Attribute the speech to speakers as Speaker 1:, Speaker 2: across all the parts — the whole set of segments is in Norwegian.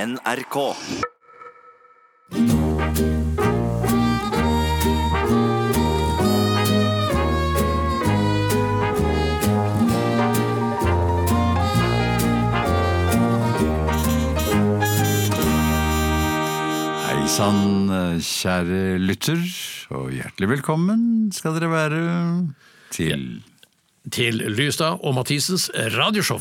Speaker 1: NRK.
Speaker 2: Hei sann, kjære lytter, og hjertelig velkommen skal dere være til
Speaker 3: til Lystad og Mathisens radioshow.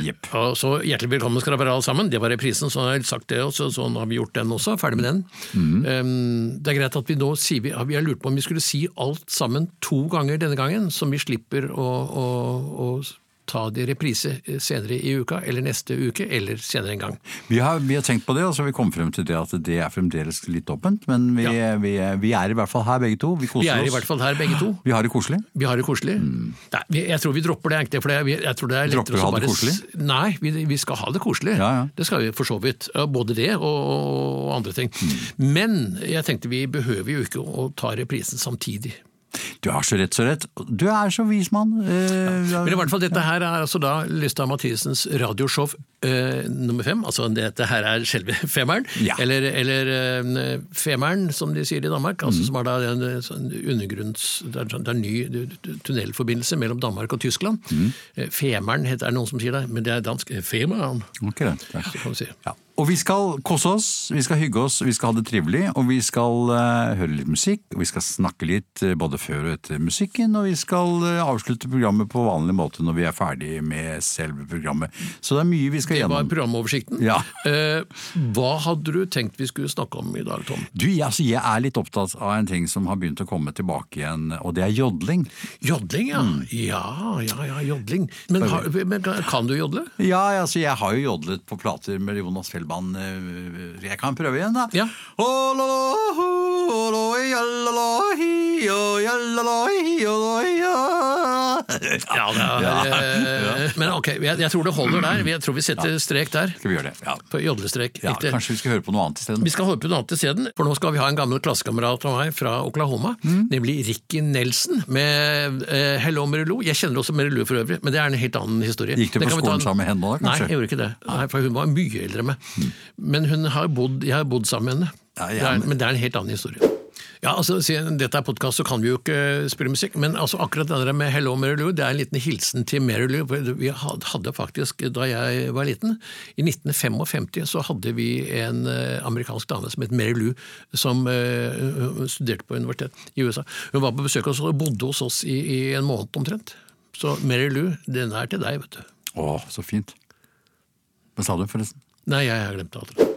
Speaker 2: Jepp.
Speaker 3: Og så Hjertelig velkommen skal dere være alle sammen. Det var reprisen, så har jeg sagt det også, sånn har vi gjort den også. Ferdig med den. Um, det er greit at vi nå sier vi, vi har lurt på om vi skulle si alt sammen to ganger denne gangen, som vi slipper å, å, å ta det i reprise senere i uka, eller neste uke, eller senere en gang.
Speaker 2: Vi har, vi har tenkt på det, og så har vi kommet frem til det at det er fremdeles litt åpent, men vi, vi, vi er i hvert fall her begge to. Vi koser
Speaker 3: Vi er
Speaker 2: oss.
Speaker 3: i hvert fall her begge to.
Speaker 2: Vi har det koselig.
Speaker 3: Vi har det koselig. Nei, vi- jeg tror vi dropper det, egentlig. For det, er- vi- jeg tror det er lettere
Speaker 2: Mm. Dropper å
Speaker 3: så
Speaker 2: ha det
Speaker 3: bare s- Nei, vi, vi skal ha det koselig.
Speaker 2: Ja, ja.
Speaker 3: Det skal vi for så vidt. Ja, Både det og, og andre ting.
Speaker 2: Mm.
Speaker 3: Men jeg tenkte vi behøver jo ikke å ta reprisen samtidig.
Speaker 2: Du har så rett, så rett. Du er så vis mann. Eh,
Speaker 3: Men i hvert fall, dette her er altså da Lystad Mathisens radioshow eh, nummer fem. Altså dette her er selve femeren.
Speaker 2: Ja.
Speaker 3: Eller, eller eh, femeren, som de sier i Danmark.
Speaker 2: Mhm.
Speaker 3: Altså som er da en eh, sånn undergrunns... Det er, en sånn- det er en ny du- du- tunnelforbindelse mellom Danmark og Tyskland.
Speaker 2: Mhm.
Speaker 3: Eh, Femeren heter er det noen som sier det, men det er dansk. Eh, Femeren,
Speaker 2: Ok, det. Ja.
Speaker 3: kan vi si.
Speaker 2: Ja. Og vi skal kose oss, vi skal hygge oss, vi skal ha det trivelig, og vi skal eh, høre litt musikk, og vi skal snakke litt eh, både før og etter musikken, og vi skal eh, avslutte programmet på vanlig måte når vi er ferdig med selve programmet. Så det er mye vi skal
Speaker 3: Det var
Speaker 2: gjennom.
Speaker 3: programoversikten.
Speaker 2: Ja.
Speaker 3: Eh, hva hadde du tenkt vi skulle snakke om i dag, Tom?
Speaker 2: Du, jeg, altså, jeg er litt opptatt av en ting som har begynt å komme tilbake igjen, og det er jodling.
Speaker 3: Jodling, ja.
Speaker 2: Mm.
Speaker 3: Ja, ja, ja, jodling. Men, har, men kan du jodle?
Speaker 2: Ja, altså, jeg har jo jodlet på plater med Jonas Fjellmann. eh, Jeg kan prøve igjen, da.
Speaker 3: Ja.
Speaker 2: Ålåho, ålåi, jallalåhi, å, jallalåhi, ålåi, ja.
Speaker 3: Ja, det er,
Speaker 2: Ja.
Speaker 3: eh, Men ok, jeg, jeg tror det holder der. Jeg tror vi setter strek der.
Speaker 2: Skal vi gjøre det? Ja.
Speaker 3: På jodlestrek.
Speaker 2: ja
Speaker 3: Riktig.
Speaker 2: kanskje vi skal høre på noe annet isteden?
Speaker 3: eh, Vi skal holde på noe annet isteden, for nå skal vi ha en gammel klassekamerat av meg fra Oklahoma,
Speaker 2: Mm.
Speaker 3: nemlig Ricky Nelson med eh, Hello Merilou. Jeg kjenner også Merilou for øvrig, men det er en helt annen historie.
Speaker 2: Gikk du
Speaker 3: Det
Speaker 2: på
Speaker 3: kan vi ta
Speaker 2: skolen
Speaker 3: en-
Speaker 2: sammen med henne da,
Speaker 3: Nei,
Speaker 2: kanskje?
Speaker 3: jeg gjorde ikke det. Nei, for hun var mye eldre enn meg. Men hun har bodd, jeg har bodd sammen med henne.
Speaker 2: Ja,
Speaker 3: det
Speaker 2: ja,
Speaker 3: er,
Speaker 2: men-
Speaker 3: men det er en helt annen historie. Ja, altså, siden dette er podkast, så kan vi jo ikke eh, spille musikk, men altså, akkurat det der med Hello Merilou, det er en liten hilsen til Merilou. Vi had- hadde faktisk, da jeg var liten, i 1955 så hadde vi en eh, amerikansk dame som het Merilou, som eh, hun studerte på universitet i USA. Hun var på besøk hos oss og bodde hos oss i, i en måned omtrent. Så Merilou, den er til deg, vet du.
Speaker 2: Å, så fint. Hva sa du, forresten?
Speaker 3: Nei, jeg har glemt det allerede.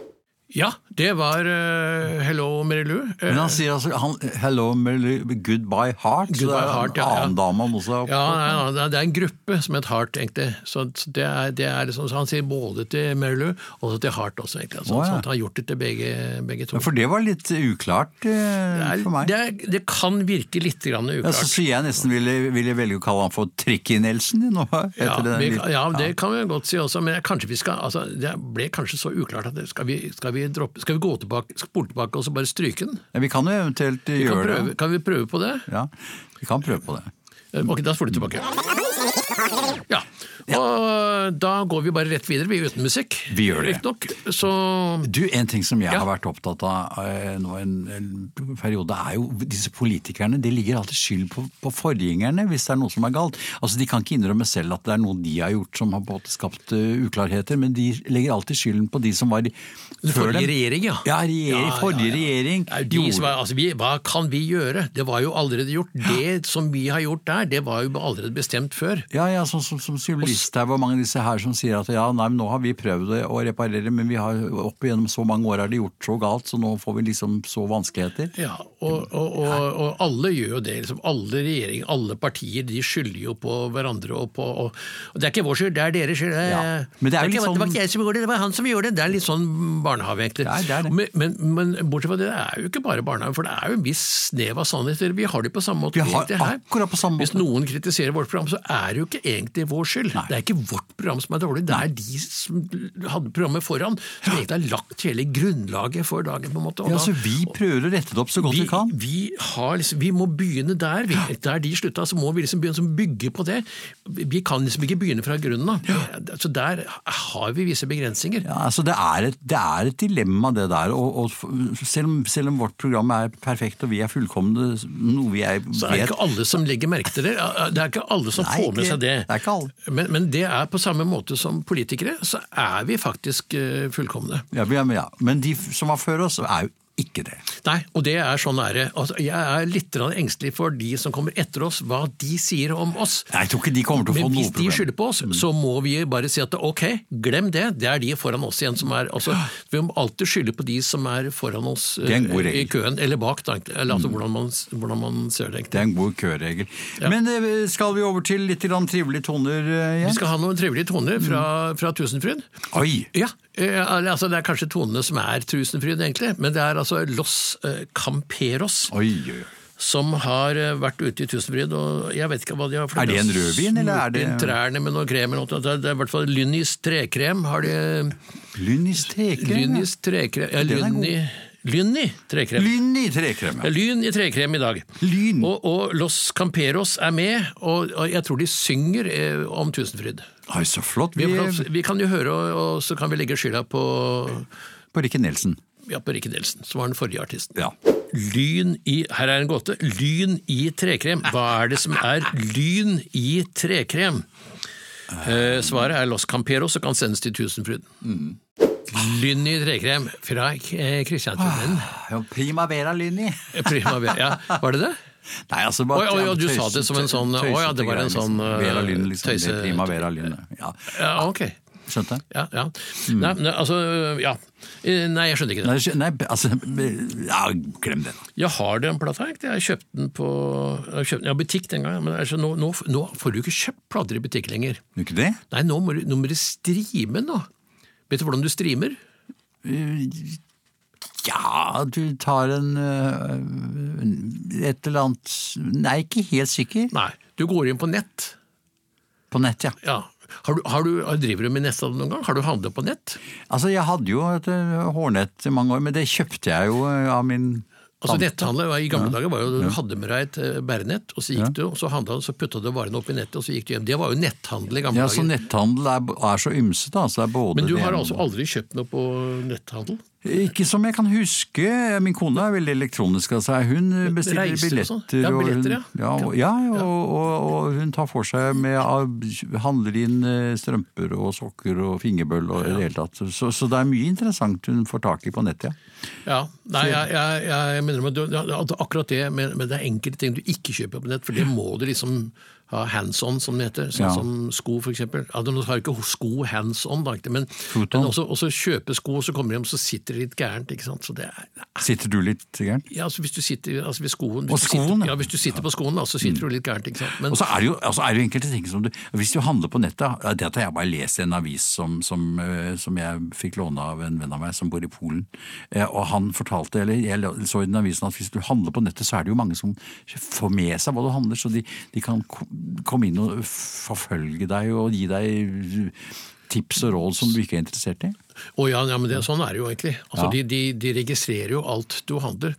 Speaker 3: Ja, det var eh, Hello Merilu. Eh,
Speaker 2: Men han sier altså han, 'hello, Mary Lou, goodbye heart'. så det er
Speaker 3: Goodbye
Speaker 2: en
Speaker 3: heart, ja, ja.
Speaker 2: annen dame han også har
Speaker 3: ja, nei, nei, det er en gruppe som het Heart, egentlig. Så det er, det er liksom, så han sier både til Merilu og så til Heart også, egentlig. Altså,
Speaker 2: Å, ja.
Speaker 3: Så han har gjort det til begge, begge to.
Speaker 2: For det var litt uklart eh,
Speaker 3: det,
Speaker 2: for
Speaker 3: er,
Speaker 2: meg.
Speaker 3: det, er, det kan virke litt grann
Speaker 2: Ja, så
Speaker 3: uklart.
Speaker 2: sier jeg nesten ville, ville velge å kalle han for Trikki-Nelson nå. Etter
Speaker 3: Ja,
Speaker 2: den
Speaker 3: vi,
Speaker 2: lille-
Speaker 3: ja, det kan vi godt si også, men jeg- kanskje vi skal altså, Det ble kanskje så uklart at det, skal, vi, skal, vi droppe, skal vi gå tilbake, spole tilbake og så bare stryke den?
Speaker 2: Ja, vi kan jo eventuelt
Speaker 3: Vi kan,
Speaker 2: gjøre
Speaker 3: prøve,
Speaker 2: det.
Speaker 3: kan vi prøve på det?
Speaker 2: Ja, vi kan prøve på det.
Speaker 3: Eh, Ok, da får du tilbake. Ja, og da går vi bare rett videre, vi er uten musikk.
Speaker 2: Vi gjør det.
Speaker 3: Riktignok, så
Speaker 2: Du, En ting som jeg
Speaker 3: Ja.
Speaker 2: har vært opptatt av eh, nå en, en periode, er jo disse politikerne. Det ligger alltid skyld på, på forgjengerne hvis det er noe som er galt. Altså, De kan ikke innrømme selv at det er noe de har gjort som har på en måte skapt eh, uklarheter, men de legger alltid skylden på de som var i- før
Speaker 3: forrige
Speaker 2: dem.
Speaker 3: regjering, ja.
Speaker 2: Ja, regjer-
Speaker 3: Ja, ja,
Speaker 2: forrige
Speaker 3: ja.
Speaker 2: regjering.
Speaker 3: Det er jo de som er, altså, vi, hva kan vi gjøre? Det var jo allerede gjort. Det som vi har gjort der, det var jo allerede bestemt før.
Speaker 2: Ja, ja, sånn som, som Sylvi Listhaug og mange av disse her som sier at ja, nei, men nå har vi prøvd å reparere, men vi har opp igjennom så mange år har de gjort så galt, så nå får vi liksom så vanskeligheter.
Speaker 3: Ja, og, og, og, og alle gjør jo det. Liksom. Alle regjeringer, alle partier, de skylder jo på hverandre. Og, på, og, og Det er ikke vår skyld, det er deres skyld.
Speaker 2: Ja,
Speaker 3: Eh,
Speaker 2: men det er jo litt
Speaker 3: ikke- det var
Speaker 2: sånn-
Speaker 3: ikke jeg som gjorde det, det var han som gjorde det. Det er litt sånn barnehage, egentlig.
Speaker 2: Ja, det er det.
Speaker 3: Men, men, men bortsett fra det, det er jo ikke bare barnehage, for det er jo en viss snev av sannheter. Vi har det på samme måte.
Speaker 2: Vi har
Speaker 3: egentlig her.
Speaker 2: akkurat på samme
Speaker 3: Hvis
Speaker 2: måte.
Speaker 3: noen kritiserer vårt program, så er det jo ikke egentlig vår skyld.
Speaker 2: Nei. Nei.
Speaker 3: Det er ikke vårt program som er dårlig, det er de som hadde programmet foran, som egentlig har lagt hele grunnlaget for dagen. på en måte. og
Speaker 2: Ja,
Speaker 3: da-
Speaker 2: så vi prøver å rette det opp så godt vi, kan.
Speaker 3: vi, har liksom, vi må begynne der. Vi, der de slutta, så må vi liksom begynne å bygge på det. Vi kan liksom ikke begynne fra grunnen av. Så der har vi visse begrensninger.
Speaker 2: Ja, altså det, er et, det er et dilemma, det der. Og, og selv, om, selv om vårt program er perfekt og vi er fullkomne, noe vi er,
Speaker 3: Så er det ikke alle som legger merke til det. Det er ikke alle som
Speaker 2: Nei,
Speaker 3: får med
Speaker 2: ikke-
Speaker 3: seg det.
Speaker 2: det er ikke alle.
Speaker 3: Men, men det er på samme måte som politikere, så er vi faktisk eh, fullkomne.
Speaker 2: ja, vi er- ja. Men de som var før oss, er jo ikke det.
Speaker 3: Nei, og det er sånn er det. Altså, jeg er litt grann engstelig for de som kommer etter oss, hva de sier om oss.
Speaker 2: Nei, Jeg tror ikke de kommer til å få
Speaker 3: Men
Speaker 2: noe
Speaker 3: hvis de
Speaker 2: problem. Mm.
Speaker 3: skylder på oss, så må vi bare si at ok, glem det. Det er de foran oss igjen som er altså, Vi må alltid skylde på de som er foran oss
Speaker 2: Det er en god
Speaker 3: eh, i
Speaker 2: regel. Mm.
Speaker 3: køen, eller bak, da, egentlig. eller altså, hvordan, man, hvordan man ser det. egentlig.
Speaker 2: Det er en god køregel. Men eh, skal vi over til litt grann trivelige toner eh,
Speaker 3: Vi
Speaker 2: igjen?
Speaker 3: skal ha noen trivelige toner fra,
Speaker 2: Mm.
Speaker 3: fra Tusenfryd.
Speaker 2: Oi!
Speaker 3: Ja, eh, altså Det er kanskje tonene som er Tusenfryd, egentlig, men det er altså Los eh, Camperos
Speaker 2: Oi, oi, oi.
Speaker 3: som har eh, vært ute i Tusenfryd. og jeg vet ikke hva de har for
Speaker 2: Er det en rødvin, eller er det-
Speaker 3: Smurt inn Trærne med noe krem eller noe. altså, Det er, det er i hvert fall Lynnys trekrem. har de... eh,
Speaker 2: Lynnis trekrem. ja.
Speaker 3: Lynnys trekrem
Speaker 2: Den
Speaker 3: ja,
Speaker 2: er
Speaker 3: lyn,
Speaker 2: god.
Speaker 3: i, lyn i trekrem.
Speaker 2: Lyn i trekrem, ja.
Speaker 3: Det er Lyn i trekrem i dag.
Speaker 2: Lyn.
Speaker 3: Og, og Los Camperos er med, og, og jeg tror de synger eh, om Tusenfryd.
Speaker 2: Oi, så flott.
Speaker 3: Vi,
Speaker 2: Vi
Speaker 3: vi kan jo høre, og, og så kan vi legge skylda på,
Speaker 2: på Rikke Nelson.
Speaker 3: ja, på Rikke Nielsen, som var den forrige artisten.
Speaker 2: Ja.
Speaker 3: Lyn i Her er en gåte. Lyn i trekrem. Hva er det som er lyn i trekrem? Eh, svaret er Los Camperos og kan sendes til Tusenfryd.
Speaker 2: Mm.
Speaker 3: Lyn i trekrem fra eh,
Speaker 2: Ah.
Speaker 3: Kristiansund.
Speaker 2: ja Primavera Lynni.
Speaker 3: Primavera, ja. Var det det?
Speaker 2: Nei, altså
Speaker 3: Å
Speaker 2: bare
Speaker 3: ja, å ja, du
Speaker 2: tøyse-
Speaker 3: sa det som en sånn,
Speaker 2: tøysete
Speaker 3: å ja, det var en
Speaker 2: greier,
Speaker 3: sånn,
Speaker 2: liksom. Vera Lynn, liksom.
Speaker 3: tøyse-
Speaker 2: Det er Primavera Lynn. Ja.
Speaker 3: Ja, ok.
Speaker 2: Skjønte jeg?
Speaker 3: Ja, ja. Nei, men altså, ja. Eh, Nei, jeg skjønner ikke det.
Speaker 2: Mm. Nei, skjø- nei, altså Ja, glem det, da.
Speaker 3: Jeg har den plata, ikke? jeg kjøpte den på jeg kjøpte den, ja, butikk den gangen, men altså, nå, nå, nå får du ikke kjøpt plater i butikk lenger.
Speaker 2: Gjør ikke det?
Speaker 3: Nei, nå må du, nå må du streame nå. Vet du hvordan du streamer?
Speaker 2: Ja, du tar en øh, Et eller annet Nei, ikke helt sikker.
Speaker 3: Nei, du går inn på nett.
Speaker 2: På nett, ja.
Speaker 3: Ja. Har du, har du, driver du med netthandel noen gang? Har du handlet på nett?
Speaker 2: Altså, jeg hadde jo et øh, hårnett i mange år, men det kjøpte jeg jo øh, av min
Speaker 3: Altså
Speaker 2: tante.
Speaker 3: Netthandel var- i gamle dager var jo du hadde med deg et eh, bærenett, og så gikk du, og så handla du, så putta du varene opp i nettet, og så gikk du hjem. Det var jo netthandel i gamle
Speaker 2: Ja, sånn så Altså,
Speaker 3: dager.
Speaker 2: netthandel er, er så ymse, da. Så det er både
Speaker 3: Men du
Speaker 2: det
Speaker 3: har
Speaker 2: ene-
Speaker 3: altså aldri kjøpt noe på netthandel?
Speaker 2: Ikke som jeg kan huske. Min kone er veldig elektronisk av seg. Hun bestiller
Speaker 3: reiser og
Speaker 2: billetter.
Speaker 3: sånn. Ja, billetter, ja.
Speaker 2: hun, ja, og, ja, og, og, og hun tar for seg med Handler inn eh, strømper og sokker og fingerbøll og i det hele tatt. Så, så det er mye interessant hun får tak i på nettet, ja.
Speaker 3: Ja, nei, jeg, jeg, jeg mener men du, ja, at akkurat det, men, men det er enkelte ting du ikke kjøper på nett, for det må du liksom ha hands on, som det heter. Sånn
Speaker 2: Ja.
Speaker 3: som sko, for eksempel. Ja, du har ikke sko hands on, da, ikke, men,
Speaker 2: on.
Speaker 3: men også, også kjøpe sko, og så kommer de hjem, så sitter det litt gærent. ikke sant? Så det er,
Speaker 2: Sitter du litt gæren?
Speaker 3: ja, altså hvis du sitter altså hvis skoen, hvis
Speaker 2: Og
Speaker 3: du
Speaker 2: skoen,
Speaker 3: sitter,
Speaker 2: ja.
Speaker 3: ja, Mm. hvis du sitter på skoen, da, så sitter du litt gærent. ikke sant? Men,
Speaker 2: Og så er det jo, altså er det jo enkelte ting som du Hvis du handler på nettet ja, Det at jeg bare leser en avis som, som, eh, som jeg fikk låne av en venn av meg som bor i Polen, eh, og han fortalte, eller jeg så i den avisen at hvis du handler på nettet, så er det jo mange som får med seg hva du handler, så de, de kan ko- komme inn og forfølge deg og gi deg tips og råd som du ikke er interessert i.
Speaker 3: Å ja, ja, men det, sånn er det jo egentlig. Altså,
Speaker 2: Ja.
Speaker 3: de, de, de registrerer jo alt du handler.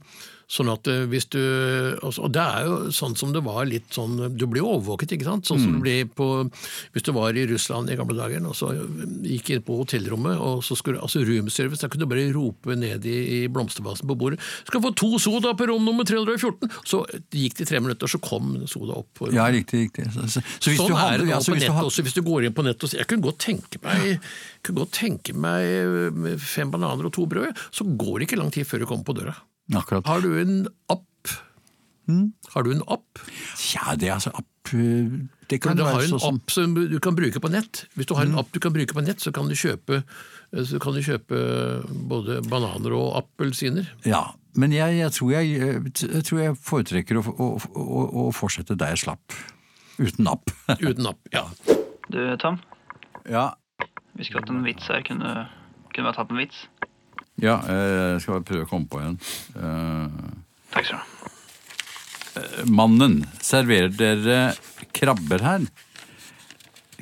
Speaker 3: Sånn at eh, hvis du altså, Og det er jo sånn som det var litt sånn Du ble jo overvåket, ikke sant? Sånn som du ble på Hvis du var i Russland i gamle dager og så gikk inn på hotellrommet og så skulle Altså room service, da kunne du bare rope ned i, i blomsterbasen på bordet 'Skal få to soda på rom nummer 314!' Så gikk det tre minutter, så kom soda opp. på-
Speaker 2: Ja, riktig, riktig. Så, så, så hvis du
Speaker 3: sånn er det
Speaker 2: handler,
Speaker 3: nå
Speaker 2: ja, så
Speaker 3: på
Speaker 2: hvis du
Speaker 3: nettet
Speaker 2: ha-
Speaker 3: også. Hvis du går inn på nettet og sier jeg kunne godt tenke meg, jeg kunne godt tenke meg eh, fem bananer og to brød, så går det ikke lang tid før du kommer på døra.
Speaker 2: Akkurat.
Speaker 3: Har du en app?
Speaker 2: Hmm?
Speaker 3: Har du en app?
Speaker 2: Ja, det er altså app, eh, Det
Speaker 3: For
Speaker 2: kan
Speaker 3: du har
Speaker 2: være
Speaker 3: en
Speaker 2: sånn som Hmm.
Speaker 3: app som du kan bruke på nett. Hvis du har en app du kan bruke på nett, så kan du kjøpe, eh, så kan du kjøpe både bananer og appelsiner.
Speaker 2: Ja, men jeg, jeg, tror, jeg, jeg tror jeg foretrekker å, å, å, å fortsette der jeg slapp. Uten app.
Speaker 3: Uten app, ja.
Speaker 1: Du, Tom.
Speaker 2: Ja,
Speaker 1: Vi skulle hatt en vits her. Kunne, kunne vi ha tatt en vits?
Speaker 2: ja eh, jeg skal bare prøve å komme på en. Eh,
Speaker 1: Takk skal du ha.
Speaker 2: Mannen, serverer dere krabber her?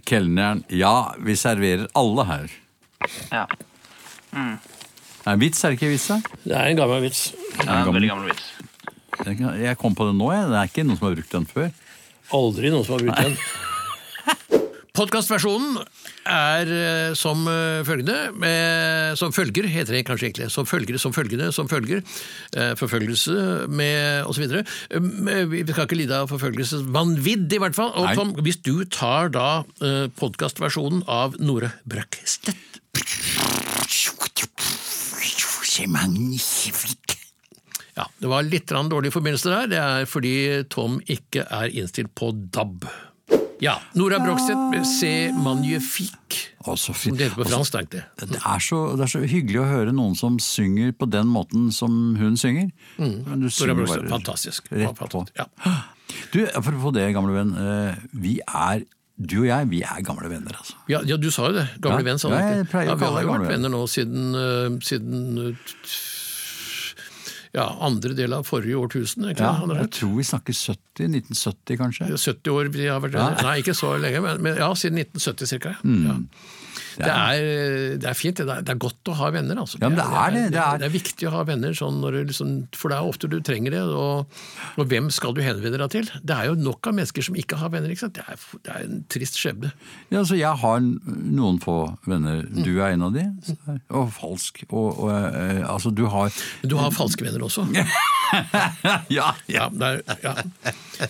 Speaker 2: kelneren Ja, vi serverer alle her.
Speaker 1: Ja.
Speaker 2: Nei, vits er det ikke vits, da?
Speaker 3: Det er en gammel vits.
Speaker 1: Det er en veldig gammel vits.
Speaker 2: Jeg kan- Jeg kom på det nå, jeg. Det er ikke noen som har brukt den før.
Speaker 3: Aldri noen som har brukt den. Podkastversjonen er eh, som eh, følgende eh, Som følger, heter det kanskje egentlig. Som følger, som følgende, som følger. eh, Forfølgelse med osv. Eh, Vi skal ikke lide av forfølgelsesvanvidd, i hvert fall. Og
Speaker 2: Nei.
Speaker 3: Tom, hvis du tar da eh, podkastversjonen av Nore Brøkstedt Ja, Det var litt grann dårlig forbindelse der. Det er fordi Tom ikke er innstilt på DAB. Ja. Nora Brøkstedt, se magnifique.
Speaker 2: Å, så fint.
Speaker 3: Som det heter på
Speaker 2: Altså,
Speaker 3: fransk, tenkte jeg.
Speaker 2: det er, så, det er så hyggelig å høre noen som synger på den måten som hun synger. Men Du
Speaker 3: Nora
Speaker 2: synger
Speaker 3: Brøkstedt,
Speaker 2: bare
Speaker 3: fantastisk.
Speaker 2: rett på.
Speaker 3: Fantastisk, Ja.
Speaker 2: Du, apropos det, gamle venn. eh, Vi er, du og jeg, vi er gamle venner, altså.
Speaker 3: Ja, ja, du sa jo det. Gamle
Speaker 2: Ja.
Speaker 3: venn, sa du
Speaker 2: Ja,
Speaker 3: ikke?
Speaker 2: jeg pleier å
Speaker 3: ja, vi
Speaker 2: kalle
Speaker 3: har
Speaker 2: deg
Speaker 3: jo
Speaker 2: gamle
Speaker 3: vært
Speaker 2: venn.
Speaker 3: venner nå siden, eh, siden eh, t- ja, andre del av forrige årtusen. Ikke?
Speaker 2: Ja,
Speaker 3: sant, André?
Speaker 2: jeg tror vi snakker 70, 1970 kanskje.
Speaker 3: 70 år vi har vært venner. Nei, ikke så lenge, men, men ja, siden 1970 ca.
Speaker 2: Mm.
Speaker 3: Ja. Det, er, det er fint. Det er, det er godt å ha venner, altså.
Speaker 2: Ja, men det er det, det er-
Speaker 3: det er viktig å ha venner, sånn når du liksom, for det er ofte du trenger det. Og, og hvem skal du henvende deg til? Det er jo nok av mennesker som ikke har venner. ikke sant? Det er, det er en trist skjebne.
Speaker 2: Ja, så jeg har n- noen få venner. Du er en av de. så- Og falsk. Og, og eh, altså, du har
Speaker 3: Men du har falske venner også.
Speaker 2: Ja!
Speaker 3: Ja, det er, ja.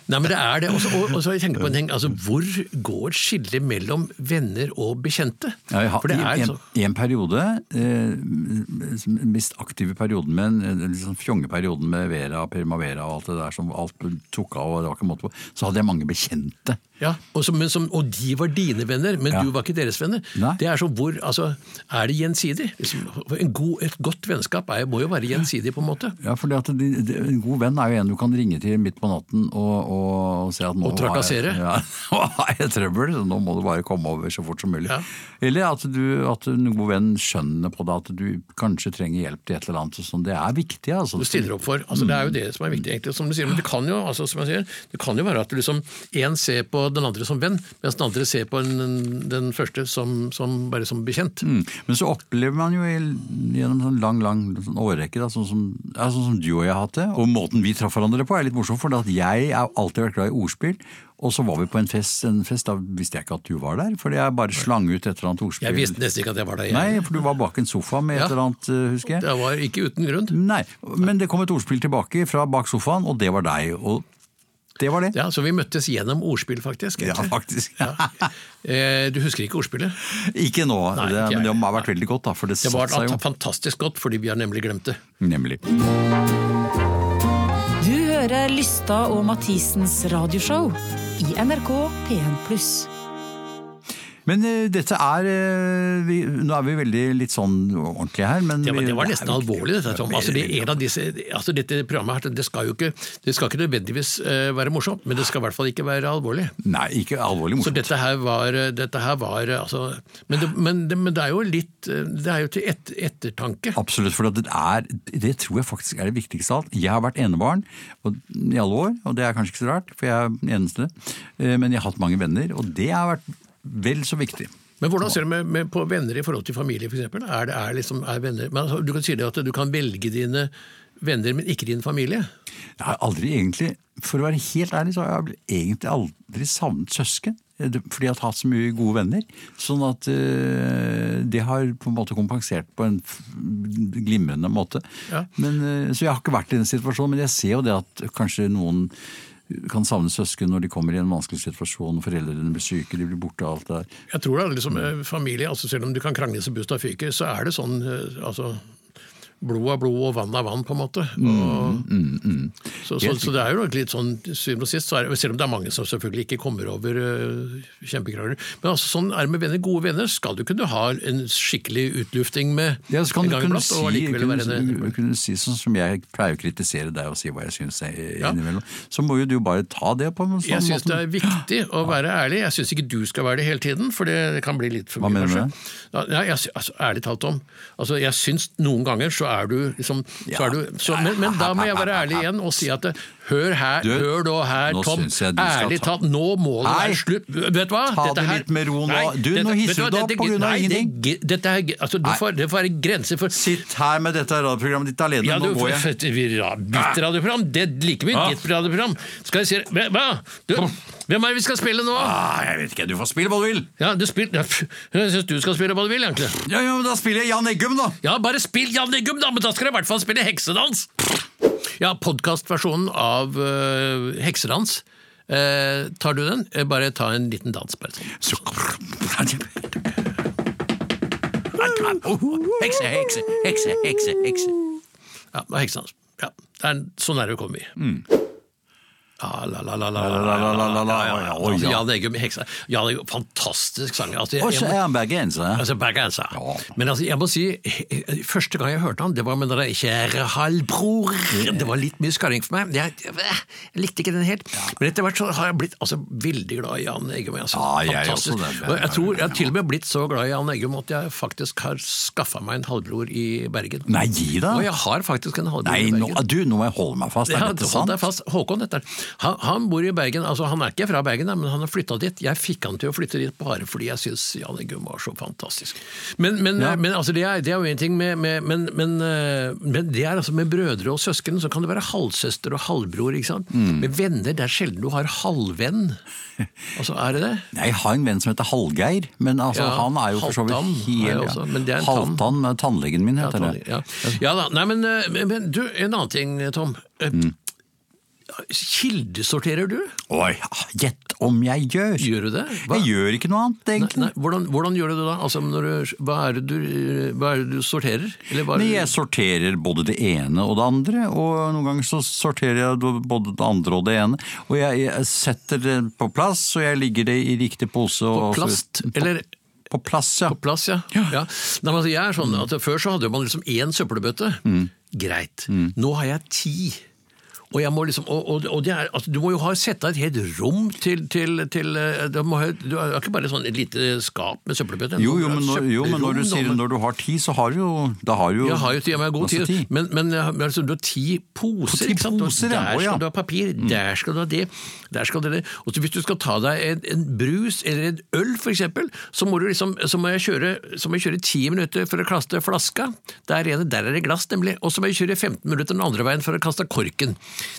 Speaker 3: Nei, men det er det. Også, og, og så har jeg tenkt på en ting. Altså, hvor går skillet mellom venner og bekjente?
Speaker 2: Ja, jeg har,
Speaker 3: For det er sånn-
Speaker 2: i en,
Speaker 3: så,
Speaker 2: en periode, eh, som den mest aktive perioden med en eh, liksom fjongeperioden med Vera, Primavera og alt det der som alt tok av og det var ikke måte på, så hadde jeg mange bekjente.
Speaker 3: ja, og, som, men som, og de var dine venner, men
Speaker 2: Ja.
Speaker 3: du var ikke deres venner.
Speaker 2: Nei.
Speaker 3: Det Er så hvor, altså, er det gjensidig? Liksom, en god, et godt vennskap er, må jo være gjensidig, på en måte.
Speaker 2: Ja, fordi at de, de, En god venn er jo en du kan ringe til midt på natten og, og, og se at nå
Speaker 3: Og trakassere.
Speaker 2: har jeg- Ja, nå har jeg trøbbel, så nå må du bare komme over så fort som mulig.
Speaker 3: Ja.
Speaker 2: Eller at, du, at en god venn skjønner på det at du kanskje trenger hjelp til et eller annet. og Sånn. Det er viktig, altså.
Speaker 3: Du stiller opp for. Altså, det er jo det som er viktig, egentlig. Som du sier, men det kan jo, altså, som jeg sier, det kan jo være at du liksom, en ser på den andre som venn, mens den andre ser på den, den første som, som bare som bekjent.
Speaker 2: Mm. Men så opplever man jo i, gjennom en lang lang sånn årrekke, da, sånn, som, ja, sånn som du og jeg har hatt det, og måten vi traff hverandre på er litt morsom, for at jeg har alltid vært glad i ordspill, og så var vi på en fest, en fest da visste jeg ikke at du var der, fordi jeg bare slang ut et eller annet ordspill.
Speaker 3: Jeg visste nesten ikke at jeg var der. jeg.
Speaker 2: Nei, for du var bak en sofa med et
Speaker 3: Ja.
Speaker 2: eller annet, eh, husker jeg.
Speaker 3: Det var ikke uten grunn.
Speaker 2: Nei, men det kom et ordspill tilbake fra bak sofaen, og det var deg, og det var det.
Speaker 3: Ja, Så vi møttes gjennom ordspill, faktisk.
Speaker 2: Ja, faktisk.
Speaker 3: Eh, Du husker ikke ordspillet?
Speaker 2: ikke nå,
Speaker 3: Nei,
Speaker 2: det,
Speaker 3: ikke jeg.
Speaker 2: men det må ha vært veldig godt da, for det,
Speaker 3: Det var altså
Speaker 2: satt seg jo.
Speaker 3: fantastisk godt, fordi vi har nemlig glemt det.
Speaker 2: Nemlig.
Speaker 4: Du hører Lystad og Mathisens radioshow i NRK P1+.
Speaker 2: Men eh, dette er eh, vi, Nå er vi veldig litt sånn ordentlige her, men
Speaker 3: Det var,
Speaker 2: vi-
Speaker 3: det var
Speaker 2: er
Speaker 3: nesten
Speaker 2: jo ikke-
Speaker 3: alvorlig, dette, Tom. Altså, det er en av disse, altså, dette programmet her, det skal jo ikke, det skal ikke nødvendigvis eh, være morsomt, men det skal i hvert fall ikke være alvorlig.
Speaker 2: Nei, ikke alvorlig
Speaker 3: Så
Speaker 2: morsomt.
Speaker 3: dette her var, eh, dette her var altså, men, det, men, det, men det er jo litt eh, Det er jo til et, ettertanke.
Speaker 2: Absolutt, for det er Det tror jeg faktisk er det viktigste av alt. Jeg har vært enebarn og, i alle år, og det er kanskje ikke så rart, for jeg er den eneste. Eh, Men jeg har hatt mange venner, og det har vært vel så viktig.
Speaker 3: Men hvordan ser du med, med, på venner i forhold til familie, f.eks.? Er det er liksom, er venner, men, altså, du kan si det at du kan velge dine venner, men ikke din familie.
Speaker 2: Jeg har aldri egentlig, For å være helt ærlig, så har jeg egentlig aldri savnet søsken. eh, det- Fordi jeg har hatt så mye gode venner. Sånn at eh, det har på en måte kompensert på en f- glimrende måte.
Speaker 3: Ja.
Speaker 2: Men, eh, så jeg har ikke vært i den situasjonen, men jeg ser jo det at kanskje noen kan savne søsken når de kommer i en vanskelig situasjon, foreldrene blir syke, de blir borte og alt det der.
Speaker 3: Jeg tror det er liksom eh, familie, altså selv om du kan krangle så busta fyker, så er det sånn eh, altså, blod er blod og vann er vann, på en måte.
Speaker 2: Mm,
Speaker 3: Og, Så, så,
Speaker 2: Helt
Speaker 3: så det er jo nok litt sånn til syvende og sist, så er, det- selv om det er mange som selvfølgelig ikke kommer over uh, kjempekrangler. Men altså, sånn er det med venner. Gode venner skal du kunne ha en skikkelig utlufting med
Speaker 2: Ja, så kan
Speaker 3: en
Speaker 2: du
Speaker 3: gang
Speaker 2: kunne
Speaker 3: iblant,
Speaker 2: si,
Speaker 3: og allikevel
Speaker 2: kunne,
Speaker 3: være en-
Speaker 2: kunne si sånn som jeg pleier å kritisere deg og si hva jeg syns er
Speaker 3: Ja.
Speaker 2: innimellom. Så må jo du bare ta det på en sånn
Speaker 3: Jeg syns
Speaker 2: måte.
Speaker 3: det er viktig å være ærlig. Jeg syns ikke du skal være det hele tiden, for det kan bli litt for
Speaker 2: Hva
Speaker 3: mye.
Speaker 2: mener du
Speaker 3: kanskje. Ja, nei, jeg, sy- altså, ærlig talt, Tom. Altså, jeg syns noen ganger så så er du liksom så
Speaker 2: Ja.
Speaker 3: er du, så, men, men da må jeg være ærlig igjen og si at eh, hør her,
Speaker 2: Du,
Speaker 3: hør da her,
Speaker 2: nå
Speaker 3: Tom.
Speaker 2: synes jeg du skal
Speaker 3: Ærlig
Speaker 2: ta-
Speaker 3: talt, nå må det
Speaker 2: Nei.
Speaker 3: være slutt. Vet du hva?
Speaker 2: Ta det litt med ro nå. Du, nå hisser
Speaker 3: vet hva,
Speaker 2: du deg opp
Speaker 3: dette-
Speaker 2: på grunn av
Speaker 3: nei, det-
Speaker 2: ingenting.
Speaker 3: Dette er, altså, du
Speaker 2: Nei.
Speaker 3: får, det får være grenser for
Speaker 2: Sitt her med dette radioprogrammet ditt alene,
Speaker 3: ja, du,
Speaker 2: nå går jeg.
Speaker 3: f- f- ja, Ditt radioprogram, det liker vi.
Speaker 2: Ah.
Speaker 3: Ditt radioprogram. Skal vi se Hva? hva? Du, hvem er det vi skal spille nå?
Speaker 2: Ah, jeg vet ikke, du får spille hva du vil.
Speaker 3: Ja, du spil, ja, f- jeg syns du skal spille hva du vil, egentlig.
Speaker 2: Ja, ja, men da spiller jeg Jan Eggum, da.
Speaker 3: Ja, bare spill Jan Eggum, da, men da skal du i hvert fall spille heksedans! Ja, podkastversjonen av øh, heksedans. Eh, tar du den? Eh, Bare ta en liten dans, bare sånn.
Speaker 2: Så... Hekse, hekse, hekse, hekse, hekse.
Speaker 3: Ja, det var heksedans. Ja, det er, sånn er det vi kommer i. Ah, la, la, la, la, la, la, la, la, la, la.
Speaker 2: Ja, ja,
Speaker 3: Altså,
Speaker 2: ja.
Speaker 3: Jan Eggum i Heksa. Jan Eggum, fantastisk sanger. Altså, jeg-
Speaker 2: Og så
Speaker 3: jeg må-
Speaker 2: er han bergenser.
Speaker 3: Altså, begge, altså.
Speaker 2: Ja.
Speaker 3: Men altså, jeg må si, eh, første gang jeg hørte han, det var med den der 'Kjære halvbror'. Det var litt mye skarring for meg. Jeg, eh, jeg, likte ikke den helt. Men etter hvert så har jeg blitt altså, veldig glad i Jan Eggum. Altså,
Speaker 2: Ja, jeg er
Speaker 3: fantastisk.
Speaker 2: også det.
Speaker 3: Og jeg tror jeg har til og med blitt så glad i Jan Eggum at jeg faktisk har skaffa meg en halvbror i Bergen.
Speaker 2: Nei, gi
Speaker 3: Og
Speaker 2: deg.
Speaker 3: jeg har faktisk en halvbror
Speaker 2: Nei,
Speaker 3: i
Speaker 2: nå, ah,
Speaker 3: Bergen.
Speaker 2: du, nå må jeg holde meg fast. Er
Speaker 3: Ja,
Speaker 2: dette sant?
Speaker 3: hold deg fast. Håkon heter han. han. Han bor i Bergen. altså Han er ikke fra Bergen, da, men han har flytta dit. Jeg fikk han til å flytte dit bare fordi jeg syns Jan Eggum var så fantastisk. Men, men,
Speaker 2: Ja.
Speaker 3: men altså, det, er, det er jo en ting med, med men, men, eh, men det er altså med brødre og søsken, så kan det være halvsøster og halvbror. ikke sant?
Speaker 2: Mm.
Speaker 3: Med venner, det er sjelden du har halvvenn. Altså, er det det?
Speaker 2: Nei, Jeg har en venn som heter Hallgeir, men altså,
Speaker 3: Ja,
Speaker 2: han er jo for så vidt
Speaker 3: Halvdan har jeg
Speaker 2: helt
Speaker 3: også, men det er en tann.
Speaker 2: Halvdan, men tannlegen min
Speaker 3: Ja,
Speaker 2: heter
Speaker 3: Tony,
Speaker 2: det.
Speaker 3: ja. ja da. Nei, men, eh, men, men du, en annen ting, Tom. Eh,
Speaker 2: Mm.
Speaker 3: Kildesorterer du?
Speaker 2: Oi, ja, gjett om jeg gjør!
Speaker 3: Gjør du det? Hva-
Speaker 2: Jeg gjør ikke noe annet, egentlig.
Speaker 3: Nei, hvordan, hvordan gjør du det da? Altså, når du, hva, er det du, hva er det du sorterer? Eller hva er
Speaker 2: Men
Speaker 3: det-
Speaker 2: jeg sorterer både det ene og det andre, og noen ganger så sorterer jeg både det andre og det ene. Og jeg, jeg setter det på plass, og jeg ligger det i riktig pose. og-
Speaker 3: på plast?
Speaker 2: På,
Speaker 3: Eller
Speaker 2: på plass, ja.
Speaker 3: på plass, ja. ja. Nei, men altså, jeg er sånn at Før så hadde man liksom én søppelbøtte.
Speaker 2: Mm.
Speaker 3: Greit. Nå har jeg ti. Og, jeg må liksom, og, og, og det er, altså, Du må jo ha sette av et helt rom til, til, til eh, du, må, ha- du har ikke bare sånn et lite skap med søppelbøtter.
Speaker 2: Jo,
Speaker 3: Du
Speaker 2: jo,
Speaker 3: må ha
Speaker 2: men
Speaker 3: et
Speaker 2: når, jo, men når du
Speaker 3: søppelrom,
Speaker 2: sier
Speaker 3: da, men-
Speaker 2: når du har ti, så har du jo Da har du jo
Speaker 3: Jeg har jo til, jeg har god
Speaker 2: masse
Speaker 3: tid, men, men jeg har- men altså, du har ti poser.
Speaker 2: Ti
Speaker 3: ikke sant? Og
Speaker 2: poser, ja.
Speaker 3: der
Speaker 2: Å,
Speaker 3: skal
Speaker 2: ja. Mm.
Speaker 3: du ha papir, der skal du ha det, der skal du ha det. Og så hvis du skal ta deg en, en brus eller en øl, for eksempel, så må, du liksom, så må, jeg kjøre, så må jeg kjøre ti minutter for å kaste flaska. Der er det, der er det glass, nemlig. Og så må jeg kjøre 15 minutter den andre veien for å kaste korken.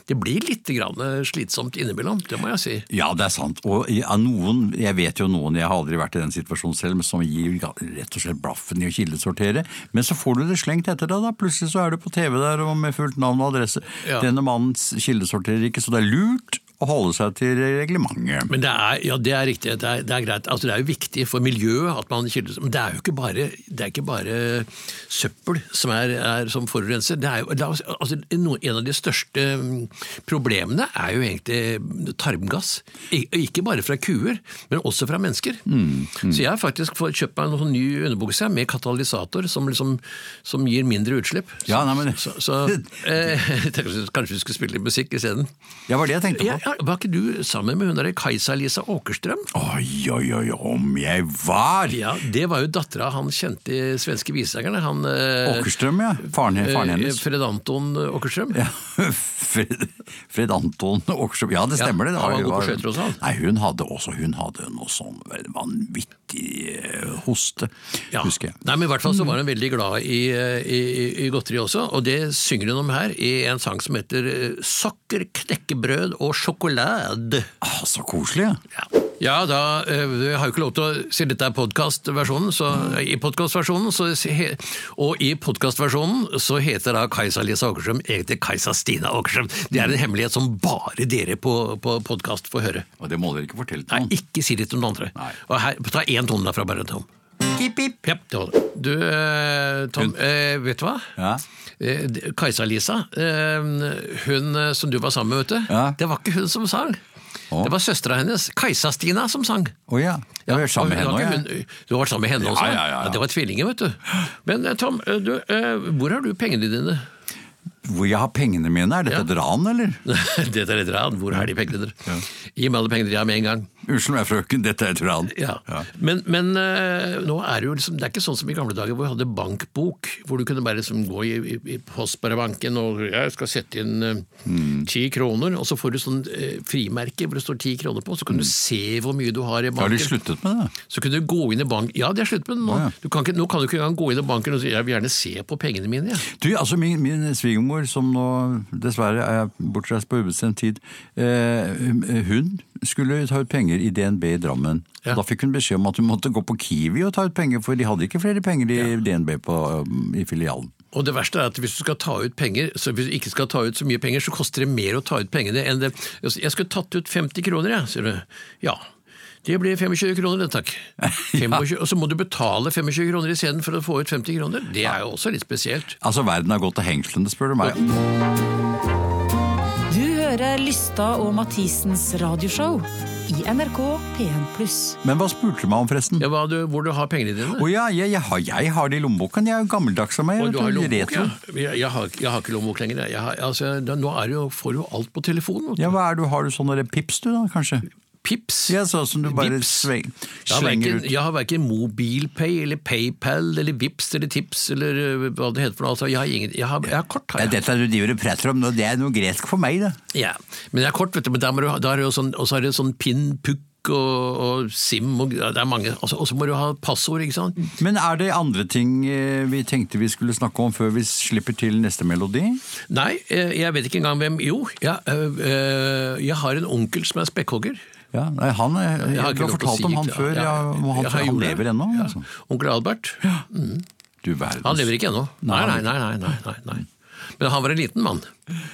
Speaker 3: Det blir litt grann eh, slitsomt innimellom, det må jeg si.
Speaker 2: Ja, det er sant. Og ja, noen, jeg vet jo noen, jeg har aldri vært i den situasjonen selv, men som gir ga- rett og slett blaffen i å kildesortere. Men så får du det slengt etter deg, da. Plutselig så er du på TV der og med fullt navn og adresse.
Speaker 3: Ja.
Speaker 2: Denne mannen s- kildesorterer ikke, så det er lurt å holde seg til reglementet.
Speaker 3: Men det er, ja, det er riktig. Det er, det er greit. Altså, det er jo viktig for miljøet at man kilder Men det er jo ikke bare, det er ikke bare søppel som, er, er, som forurenser. Det er jo, la oss- altså, no- en av de største mm, problemene er jo egentlig tarmgass. I- Ikke bare fra kuer, men også fra mennesker. Så jeg har faktisk fått kjøpt meg en sånn ny underbukse med katalysator som, liksom, som gir mindre utslipp.
Speaker 2: Ja, nei, men-
Speaker 3: Så, så eh, jeg tenkte kanskje vi skulle spille litt musikk isteden.
Speaker 2: Det var det jeg tenkte på.
Speaker 3: Ja, ja, var ikke du sammen med hun derre Kajsa-Lisa Åkerstrøm?
Speaker 2: Oi, oi, oi, om jeg var!
Speaker 3: Ja, det var jo dattera han kjente svenske visesangeren. Han eh,
Speaker 2: Åkerstrøm, ja. Faren, faren
Speaker 3: eh,
Speaker 2: hennes.
Speaker 3: Fred Anton Åkerstrøm.
Speaker 2: Ja, Fred, Fred Anton Åkerstrøm Ja, det stemmer det. det
Speaker 3: Ja, han var god på skøyter også, han.
Speaker 2: Nei, hun hadde også hun hadde noe sånn vanvittig eh, hoste,
Speaker 3: Ja.
Speaker 2: husker jeg. Mm.
Speaker 3: Nei, men I hvert fall så var hun veldig glad i, eh, i, i- i godteri også, og det synger hun om her i en sang som heter eh, 'Sokker, knekkebrød og sjokolade'.
Speaker 2: Ah, så koselig. ja.
Speaker 3: Ja, da eh, vi har jo ikke lov til å si dette er podcastversjonen, så eh, i podcastversjonen, så, he- og i podcastversjonen så heter da Kajsa Lisa Åkerstrøm egentlig Kajsa Stina Åkerstrøm. Det er en hemmelighet som bare dere på, på podcast får høre.
Speaker 2: Og det må dere ikke fortelle
Speaker 3: Nei,
Speaker 2: til noen.
Speaker 3: ikke si det til noen andre.
Speaker 2: Mm. Nei.
Speaker 3: Og her, ta en tone derfra bare, Tom.
Speaker 2: Pip, pip.
Speaker 3: Ja, det holder. Du, eh, Tom, eh, vet du hva?
Speaker 2: Ja.
Speaker 3: Eh, Kajsa-Lisa, eh, hun eh, som du var sammen med, vet du,
Speaker 2: Ja.
Speaker 3: det var ikke hun som sang.
Speaker 2: Å.
Speaker 3: Det var søstera hennes, Kajsa-Stina, som sang.
Speaker 2: Å ja. Jeg var sammen med henne
Speaker 3: Og hun har
Speaker 2: òg, jeg.
Speaker 3: ikke hun- Du har vært sammen med henne også?
Speaker 2: Ja, ja, ja, ja.
Speaker 3: det var tvillinger, vet du. Men eh, Tom, eh, du, eh, hvor har du pengene dine?
Speaker 2: Hvor jeg har pengene mine? Er dette et ran, eller?
Speaker 3: Dette er litt rad. Hvor er de pengene dine? Gi meg alle pengene jeg har med en gang.
Speaker 2: Unnskyld meg, frøken, dette er tran.
Speaker 3: Ja. Men, men eh, nå er det jo liksom, det er ikke sånn som i gamle dager hvor vi hadde bankbok, hvor du kunne bare liksom gå i, i, i Postbarebanken og jeg skal sette inn eh,
Speaker 2: Mm.
Speaker 3: ti kroner, og så får du sånn eh, frimerke hvor det står ti kroner på, så kan du se hvor mye du har i
Speaker 2: Mm. Har de
Speaker 3: banken.
Speaker 2: sluttet med det?
Speaker 3: så kunne du gå inn i banken Ja, det er slutt med det nå.
Speaker 2: Å, ja.
Speaker 3: Du kan ikke, nå kan du ikke engang gå inn i banken og si 'jeg vil gjerne se på pengene mine'. Ja.
Speaker 2: Du, altså Min, min svigermor, som nå dessverre er bortreist på ubestemt tid, eh, hun skulle ta ut penger i DNB i Drammen.
Speaker 3: Ja.
Speaker 2: Da fikk hun beskjed om at hun måtte gå på Kiwi og ta ut penger, for de hadde ikke flere penger i DNB på, um, i filialen.
Speaker 3: Og det verste er at hvis du skal ta ut penger, så hvis du ikke skal ta ut så mye penger, så koster det mer å ta ut pengene enn det Altså, Jeg skulle tatt ut 50 kroner, jeg, sier du. Ja. Det blir 25 kroner, det, takk. 25, Og så må du betale 25 kroner isteden for å få ut 50 kroner. Det er jo også litt spesielt.
Speaker 2: Altså, Verden har gått til hengslene, spør du meg.
Speaker 4: Du hører Lystad og Mathisens radioshow i NRK P1+.
Speaker 2: Men hva spurte du meg om, forresten?
Speaker 3: Ja, hva du, hvor du har pengene dine.
Speaker 2: Å ja, jeg, jeg, har, jeg har det i lommeboken. Jeg er jo gammeldags som meg.
Speaker 3: Og
Speaker 2: vet
Speaker 3: du har
Speaker 2: du,
Speaker 3: lommebok,
Speaker 2: retro.
Speaker 3: ja. Jeg, jeg, har, jeg har ikke lommebok lenger. jeg. Jeg har, altså, da, nå er det jo, får du jo alt på telefonen. vet du.
Speaker 2: Ja, hva er du, Har du sånne der pips, du da, kanskje?
Speaker 3: Pips.
Speaker 2: Ja, sånn som du bare
Speaker 3: Vips.
Speaker 2: sveng,
Speaker 3: Jeg har,
Speaker 2: slenger
Speaker 3: verken,
Speaker 2: ut.
Speaker 3: jeg har verken MobilPay eller PayPal eller Vips eller Tips eller øh, hva det heter for noe. Altså, jeg, har ingen, jeg, har, jeg har kort,
Speaker 2: Det
Speaker 3: har
Speaker 2: er
Speaker 3: jeg.
Speaker 2: dette du driver og prater om nå, det er noe gresk for meg, det.
Speaker 3: Ja, men jeg har kort, vet du. Men der må du, ha- da er det jo sånn, og så er det sånn pin, pukk og, og sim og det er mange. Altså, og så må du ha passord, ikke sant.
Speaker 2: Men er det andre ting eh, vi tenkte vi skulle snakke om før vi slipper til neste melodi?
Speaker 3: Nei, eh, jeg vet ikke engang hvem Jo, jeg, øh, øh, jeg har en onkel som er spekkhogger.
Speaker 2: Ja, nei, han, eh, Du
Speaker 3: Jeg lov
Speaker 2: har
Speaker 3: til å
Speaker 2: fortalt
Speaker 3: si
Speaker 2: om han
Speaker 3: det.
Speaker 2: før,
Speaker 3: Ja,
Speaker 2: ja,
Speaker 3: jeg-
Speaker 2: og han,
Speaker 3: jeg har
Speaker 2: han
Speaker 3: gjort det.
Speaker 2: lever ennå?
Speaker 3: Ja.
Speaker 2: Altså.
Speaker 3: Onkel Albert.
Speaker 2: Du verden.
Speaker 3: Han lever ikke ennå. Nei,
Speaker 2: Nei.
Speaker 3: nei, nei. nei, nei, nei, nei. Men han var en liten mann.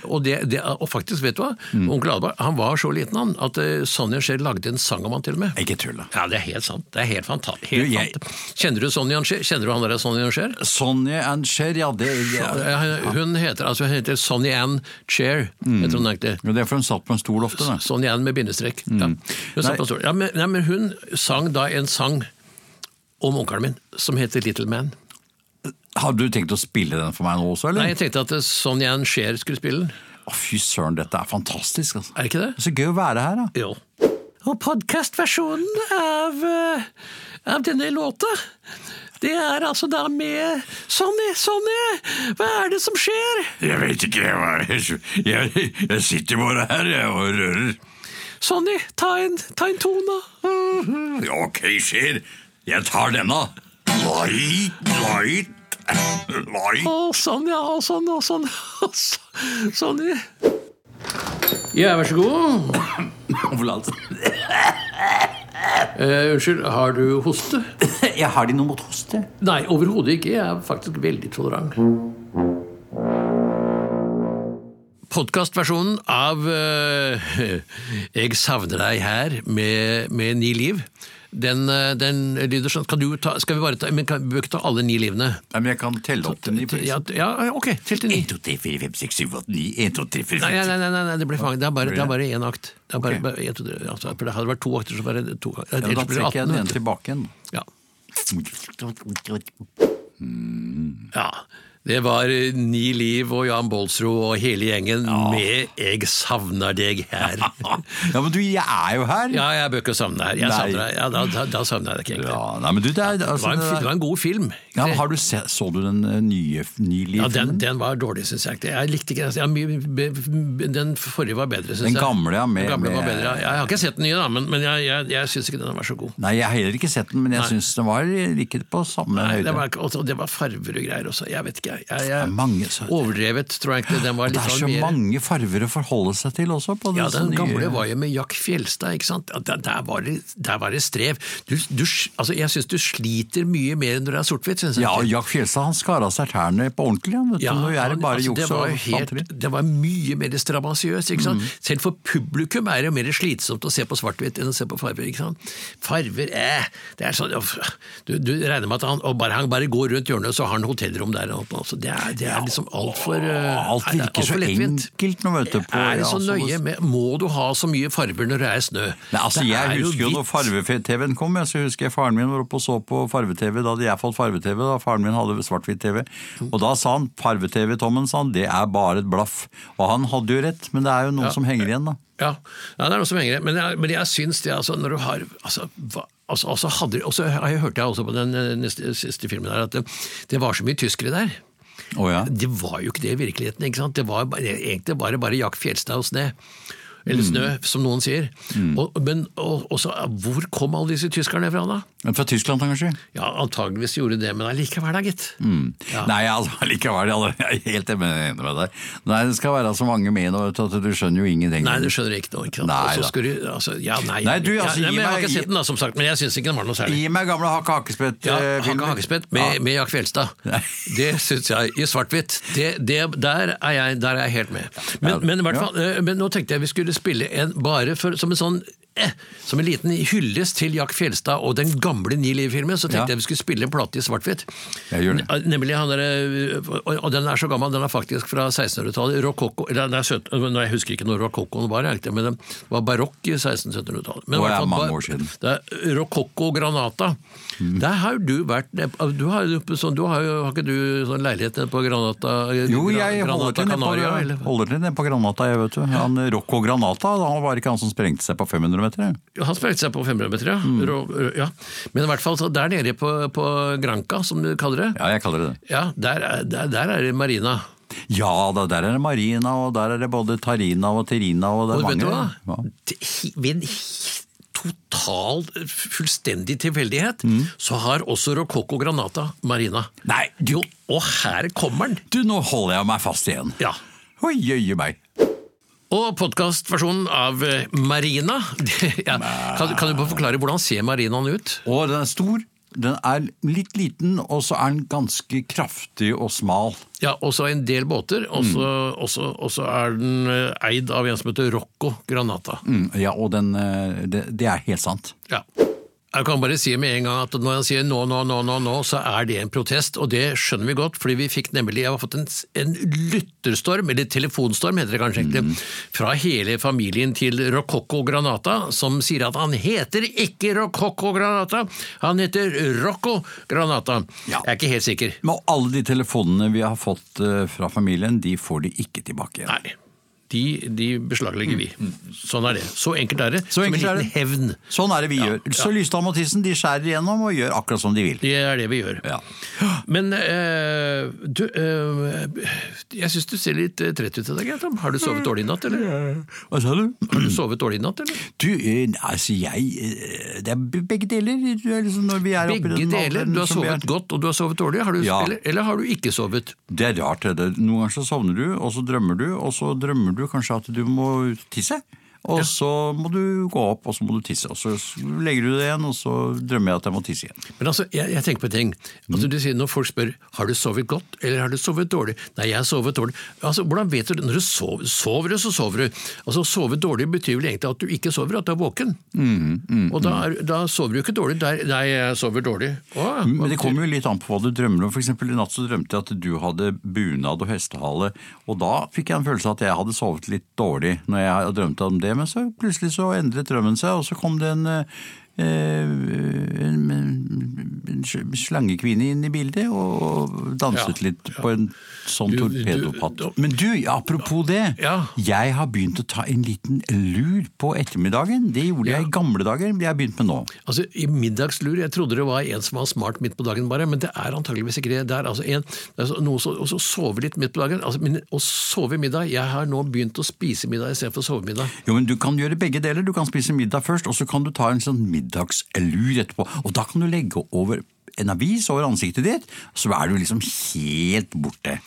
Speaker 3: Og, det, det, og faktisk, vet du hva? Onkel Albert han var så liten han, at eh, Sonja Scheel lagde en sang om han til og med.
Speaker 2: Ikke tull, da.
Speaker 3: Ja, Det er helt sant. Det er helt fantastisk.
Speaker 2: Du,
Speaker 3: Helt
Speaker 2: jeg-
Speaker 3: sant. Kjenner du Sonja Scheel? Kjenner du han der Sonja Scheel?
Speaker 2: Sonja and Cher, ja, det, ja.
Speaker 3: Eh, Hun heter, altså, hun heter Sonny Ann Chair. Jeg tror hun heter det.
Speaker 2: Ja, Det er for hun satt på en stol ofte, da.
Speaker 3: Sånn igjen med bindestrek. Ja. Hun, satt
Speaker 2: Nei.
Speaker 3: på stolen. ja, men, nei, men hun sang da en sang om onkelen min som heter Little Man.
Speaker 2: Har du tenkt å spille den for meg nå også,
Speaker 3: Nei,
Speaker 2: eller?
Speaker 3: Jeg tenkte at Sonja Ann Scheer skulle spille den.
Speaker 2: Å, fy søren, dette er fantastisk, altså.
Speaker 3: Er det ikke det?
Speaker 2: Så gøy å være her, da.
Speaker 3: Jo. Og podkastversjonen av, eh, av denne låta, det er altså da med Sonny, Sonny, hva er det som skjer?
Speaker 2: Jeg vet ikke, jeg, sitter bare her og rører.
Speaker 3: Sonny, ta en, ta en tone.
Speaker 2: Ok, Cher, jeg tar denne. Light, light, light.
Speaker 3: Og sånn, ja, og sånn, og sånn. og så- Sonny. Ja, vær så god. Eh, unnskyld, har du hoste?
Speaker 2: Jeg har de noe mot hoste.
Speaker 3: Nei, overhodet ikke. Jeg er faktisk veldig tolerant. Podkastversjonen av eh, 'Jeg savner deg her' med, med Ni Liv, den, eh, den lyder sånn kan du ta, Skal vi bare ta Men kan, vi bør ikke ta alle ni livene?
Speaker 2: Men jeg kan telle opp til ni.
Speaker 3: Ja, ja ok. Til til ni.
Speaker 2: 1, 2, 3, 4, 5, 6, 7, 8, 9. 1, 2, 3, 4,
Speaker 3: Nei,
Speaker 2: 5,
Speaker 3: nei, nei, nei, nei det blir for mange. Det er bare- det er bare én akt. Det, er bare,
Speaker 2: Ok.
Speaker 3: bare en, to, tre, altså, for det hadde vært to akter, så bare to akter.
Speaker 2: Ja, da
Speaker 3: Ellers blir det
Speaker 2: trekker jeg
Speaker 3: 18.
Speaker 2: den
Speaker 3: vet
Speaker 2: ene
Speaker 3: du.
Speaker 2: tilbake igjen.
Speaker 3: Ja.
Speaker 2: Mm.
Speaker 3: Ja, det var eh, Ni Liv og Jan Baalsrud og hele gjengen med 'Jeg savner deg her'.
Speaker 2: Ja, men du, jeg er jo her.
Speaker 3: ja, jeg bør ikke savne deg her. Jeg
Speaker 2: Nei.
Speaker 3: savner deg. Ja, da, da, da savner jeg deg ikke egentlig.
Speaker 2: Ja, nei, men du, det er
Speaker 3: Det
Speaker 2: altså,
Speaker 3: var, en,
Speaker 2: det
Speaker 3: fi-
Speaker 2: er-
Speaker 3: det var en god film.
Speaker 2: ja, men Har du sett, så du den eh, nye
Speaker 3: Ja,
Speaker 2: Nyliv-filmen?
Speaker 3: den, den var dårlig, syns jeg. Jeg likte ikke den. Ja, mye- be- den forrige var bedre, syns jeg.
Speaker 2: Den gamle, ja, med-
Speaker 3: den gamle var
Speaker 2: med-
Speaker 3: bedre. ja. Jeg har ikke sett den nye, da, men, men jeg, jeg, jeg syns ikke den var så god.
Speaker 2: Nei, jeg har heller ikke sett den, men jeg syns den var ikke på samme
Speaker 3: Nei,
Speaker 2: høyde.
Speaker 3: det var, ikke- og det var farver og greier også. Jeg vet ikke, jeg. jeg,
Speaker 2: Det er
Speaker 3: jeg
Speaker 2: mange, så-
Speaker 3: overdrevet, tror jeg ikke. Den var
Speaker 2: Og
Speaker 3: litt
Speaker 2: det er så
Speaker 3: sånn mer-
Speaker 2: mange farver å forholde seg til også. På
Speaker 3: Ja,
Speaker 2: disse
Speaker 3: den
Speaker 2: nye-
Speaker 3: gamle var jo med Jack Fjelstad, ikke sant. Ja, Der, der, var, det, der var det strev. Du, du, altså, jeg syns du sliter mye mer når det er sort-hvitt, syns jeg.
Speaker 2: Ja, og Jack Fjelstad han skar av seg tærne på ordentlig. Han, vet du.
Speaker 3: Ja,
Speaker 2: Nå er det
Speaker 3: han-
Speaker 2: bare
Speaker 3: altså, det
Speaker 2: juks og Mm.
Speaker 3: var jo
Speaker 2: fanteri.
Speaker 3: helt- Det var mye mer strabasiøst. ikke sant? Selv for publikum er det jo mer slitsomt å se på svart-hvitt enn å se på farver. ikke sant? Farver, eh, det er sånn, uff, du, du regner med at han, og bare, han bare går rundt hjørnet, så har han hotellrom der. og alt, Altså, det, er, det er liksom altfor
Speaker 2: Alt virker så enkelt nå, vet du. på-
Speaker 3: Er det så
Speaker 2: ja, altså,
Speaker 3: nøye med Må du ha så mye farver når det er snø?
Speaker 2: Nei, altså,
Speaker 3: Det
Speaker 2: jeg
Speaker 3: er jo
Speaker 2: husker jo når
Speaker 3: hvitt.
Speaker 2: farve-TV-en kom, jeg, så husker jeg faren min var oppe og så på farve-TV da hadde jeg fått farve-TV, da faren min hadde svart-hvitt-TV. Og da sa han farve-TV, Tommen, sa han, det er bare et blaff. Og han hadde jo rett, men det er jo noe som henger igjen, da.
Speaker 3: Ja, ja det er noe som henger i. Men jeg, men jeg syns det, altså, når du har altså, hva, altså, altså hadde, Og så har jeg hørt jeg også på den eh, neste, siste filmen der, at det, det var så mye tyskere der.
Speaker 2: Å ja.
Speaker 3: Det var jo ikke det i virkeligheten. ikke sant? Det var bare, egentlig bare, bare Jack Fjelstad og sne. Eller snø,
Speaker 2: Mm.
Speaker 3: som noen sier. Og, men og, og så, hvor kom alle disse tyskerne fra, da?
Speaker 2: Men Fra Tyskland, da, kanskje?
Speaker 3: Ja, antageligvis gjorde det, men allikevel, da, gitt. Ja.
Speaker 2: Nei, altså, likevel, jeg er helt enig med deg. Nei, Det skal være så mange med nå, vet du, at du skjønner jo ingenting.
Speaker 3: Nei, du skjønner ikke noe. ikke sant?
Speaker 2: Nei, da.
Speaker 3: Og så skulle du, altså, ja, nei.
Speaker 2: Nei, du,
Speaker 3: Ja,
Speaker 2: altså,
Speaker 3: nei,
Speaker 2: gi
Speaker 3: men jeg har
Speaker 2: meg-
Speaker 3: ikke sett den, da, som sagt, men jeg syns ikke den var noe særlig.
Speaker 2: Gi meg gamle eh, Hakke
Speaker 3: Ja,
Speaker 2: Hakkespett-filmer.
Speaker 3: Hakke Hakkespett med, med Jack Fjelstad. Det syns jeg, i svart-hvitt. Det, det, der, er jeg- der er jeg helt med. Men, men, i hvert fall, eh, men nå tenkte jeg vi skulle spille en bare for, som en sånn eh, som en liten hyllest til Jack Fjelstad og den gamle Ni Liv-filmen, så tenkte
Speaker 2: Ja.
Speaker 3: jeg vi skulle spille en plate i svart-hvitt.
Speaker 2: Ja, gjør det.
Speaker 3: Ne- Nemlig han derre eh, og, og den er så gammel, den er faktisk fra 1600-tallet. Rokokko eller det er søt- nei, Jeg husker ikke når rokokkoen var, jeg, men det var barokk i 1600-1700-tallet. Men i
Speaker 2: Å,
Speaker 3: hvert
Speaker 2: det er
Speaker 3: fall
Speaker 2: mange
Speaker 3: bar-
Speaker 2: år siden. Mm.
Speaker 3: det er Rokokko Granata. Der har du vært Du har, jo sånn, du har, jo, har ikke du sånn leilighet nede på Granata
Speaker 2: Jo,
Speaker 3: Gran-
Speaker 2: jeg holder
Speaker 3: Granata
Speaker 2: til nede på,
Speaker 3: Canaria, eller?
Speaker 2: holder til nede på Granata, jeg, vet du. Han Rocco Granata, han var ikke han som sprengte seg på 500 meter? jeg.
Speaker 3: Han spilte seg på 500 meter, ja.
Speaker 2: Mm.
Speaker 3: Ro- ja. Men i hvert fall så der nede på, på Granca, som du kaller det,
Speaker 2: Ja, jeg kaller det det.
Speaker 3: ja, der, er, der, der er det marina.
Speaker 2: Ja da, der er det Marina, og der er det både Tarina og Terina, og det
Speaker 3: Og
Speaker 2: er
Speaker 3: vet du
Speaker 2: mange.
Speaker 3: hva?
Speaker 2: ja.
Speaker 3: Det- hi- Ved en hi- total, fullstendig tilfeldighet, så har også Rokokko Granata marina.
Speaker 2: Mm. Nei, du,
Speaker 3: Jo, og her kommer den!
Speaker 2: du, nå holder jeg meg fast igjen.
Speaker 3: Ja.
Speaker 2: Oi, jøye meg.
Speaker 3: Og podkastversjonen av eh, Marina. ja. kan, kan du bare forklare hvordan ser Marinaen ut?
Speaker 2: Og den er stor, den er litt liten, og så er den ganske kraftig og smal.
Speaker 3: Ja, Også en del båter, og så også- også er den eh, eid av en som heter Rocco Granata.
Speaker 2: Mm, ja, og den, eh, det, det er helt sant.
Speaker 3: Ja. Jeg kan bare si med en gang at når han sier nå, nå, nå, nå, nå, så er det en protest, og det skjønner vi godt, fordi vi fikk nemlig, jeg har fått en, en lytterstorm, eller telefonstorm heter det kanskje egentlig,
Speaker 2: Mm.
Speaker 3: fra hele familien til Rokokko Granata, som sier at han heter ikke Rokokko Granata, han heter Rocco Granata.
Speaker 2: Ja.
Speaker 3: Jeg er ikke helt sikker.
Speaker 2: Men alle de telefonene vi har fått eh, fra familien, de får de ikke tilbake igjen.
Speaker 3: Nei. De, de beslaglegger vi. Sånn er det. Så enkelt er det.
Speaker 2: Mm. Så enkelt er
Speaker 3: som en
Speaker 2: det.
Speaker 3: liten hevn.
Speaker 2: Sånn er det vi
Speaker 3: Ja,
Speaker 2: gjør. Så Lystad og Mathisen de skjærer igjennom og gjør akkurat som de vil.
Speaker 3: Det er det vi gjør.
Speaker 2: Ja.
Speaker 3: Men eh, du eh, Jeg syns du ser litt eh, trett ut i dag, Tom. Har du sovet dårlig i natt, eller?
Speaker 2: Hva sa du?
Speaker 3: Har du sovet dårlig i natt, eller?
Speaker 2: Du, eh, altså jeg eh, Det er b- begge deler. Du er liksom når vi er oppe i
Speaker 3: Begge
Speaker 2: den
Speaker 3: deler.
Speaker 2: alderen
Speaker 3: Du har
Speaker 2: som vi er.
Speaker 3: sovet godt, og du har sovet dårlig. Har du,
Speaker 2: Ja.
Speaker 3: eller, eller har du ikke sovet?
Speaker 2: Det er rart. det der. Noen ganger så sovner du, og så drømmer du, og så drømmer du kanskje at du må ut og tisse. Og så må du gå opp, og så må du tisse. Og så legger du det igjen, og så drømmer jeg at jeg må tisse igjen.
Speaker 3: Men altså, jeg, jeg tenker på en ting.
Speaker 2: Mm.
Speaker 3: Altså, du sier Når folk spør har du sovet godt eller har du sovet dårlig Nei, jeg har sovet dårlig. Altså, Hvordan vet du det? Når du sover, sover du, så sover du. Altså, Å sove dårlig betyr vel egentlig at du ikke sover, at du er våken.
Speaker 2: Mm,
Speaker 3: og da, er, da sover du ikke dårlig. Der, nei, jeg sover dårlig. Å,
Speaker 2: Men det kommer jo litt an på hva du drømmer om. For eksempel i natt så drømte jeg at du hadde bunad og hestehale, og da fikk jeg en følelse av at jeg hadde sovet litt dårlig når jeg drømte om det, men så plutselig så endret drømmen seg, og så kom det en eh, en, en slangekvinne inn i bildet og danset
Speaker 3: Ja,
Speaker 2: litt på en sånn
Speaker 3: Du- du-
Speaker 2: torpedopatt.
Speaker 3: du-
Speaker 2: Men du, apropos det.
Speaker 3: Ja.
Speaker 2: Jeg har begynt å ta en liten lur på ettermiddagen. Det gjorde jeg i gamle dager, men jeg har begynt med nå.
Speaker 3: Altså, I middagslur Jeg trodde det var en som var smart midt på dagen, bare, men det er antageligvis ikke det. Det er altså en, det er så- noe som- og så sove litt midt på dagen. Altså, men Å sove middag Jeg har nå begynt å spise middag istedenfor å sove middag.
Speaker 2: Jo, men Du kan gjøre begge deler. Du kan spise middag først, og så kan du ta en sånn middagslur etterpå. Og Da kan du legge over en avis over ansiktet ditt, så er du liksom helt borte.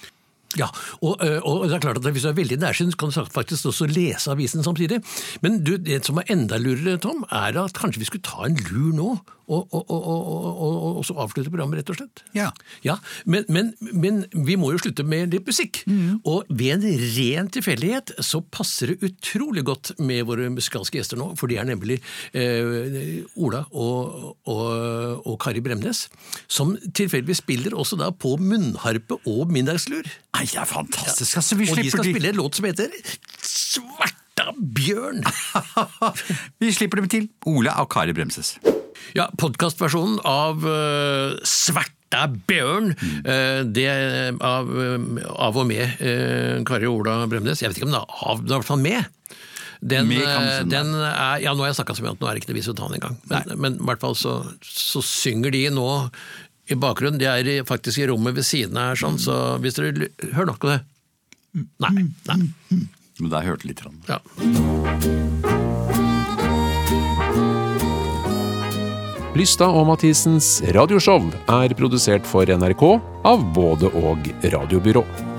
Speaker 3: Ja, og, ø, og det er klart at Hvis du er veldig nærsynt, kan du sagt- faktisk også lese avisen samtidig. Men du, det som er enda lurere, Tom, er at kanskje vi skulle ta en lur nå, og, og, og, og, og, og, og så avslutte programmet, rett og slett.
Speaker 2: Ja.
Speaker 3: Ja, men, men, men vi må jo slutte med litt musikk. Og ved en ren tilfeldighet så passer det utrolig godt med våre musikalske gjester nå, for de er nemlig eh, Ola og, og, og Kari Bremnes, som tilfeldigvis spiller også da på munnharpe og middagslur.
Speaker 2: Nei, det er fantastisk! Altså, vi
Speaker 3: Og de
Speaker 2: slipper,
Speaker 3: skal
Speaker 2: de-
Speaker 3: spille en låt som heter Svarta bjørn!
Speaker 2: vi slipper dem til. Ola og Kari Bremses.
Speaker 3: Ja, podkastversjonen av eh, Svarta bjørn,
Speaker 2: Mm.
Speaker 3: eh, det eh, av, eh, av og med eh, Kari og Ola Bremnes. Jeg vet ikke om det er av, men i hvert fall med. Den,
Speaker 2: Med Kamsen, da.
Speaker 3: den er, ja, nå har jeg snakka så mye at nå er det ikke noe vits i å ta den engang. Men, men i hvert fall så, så synger de nå i bakgrunnen. De er i- faktisk i rommet ved siden av her, sånn, så hvis dere l- Hør nok på det.
Speaker 2: Mm.
Speaker 3: Nei. nei
Speaker 2: Men der hørte litt. grann.
Speaker 3: ja.
Speaker 5: Lystad og Mathisens radioshow er produsert for NRK av både og radiobyrå.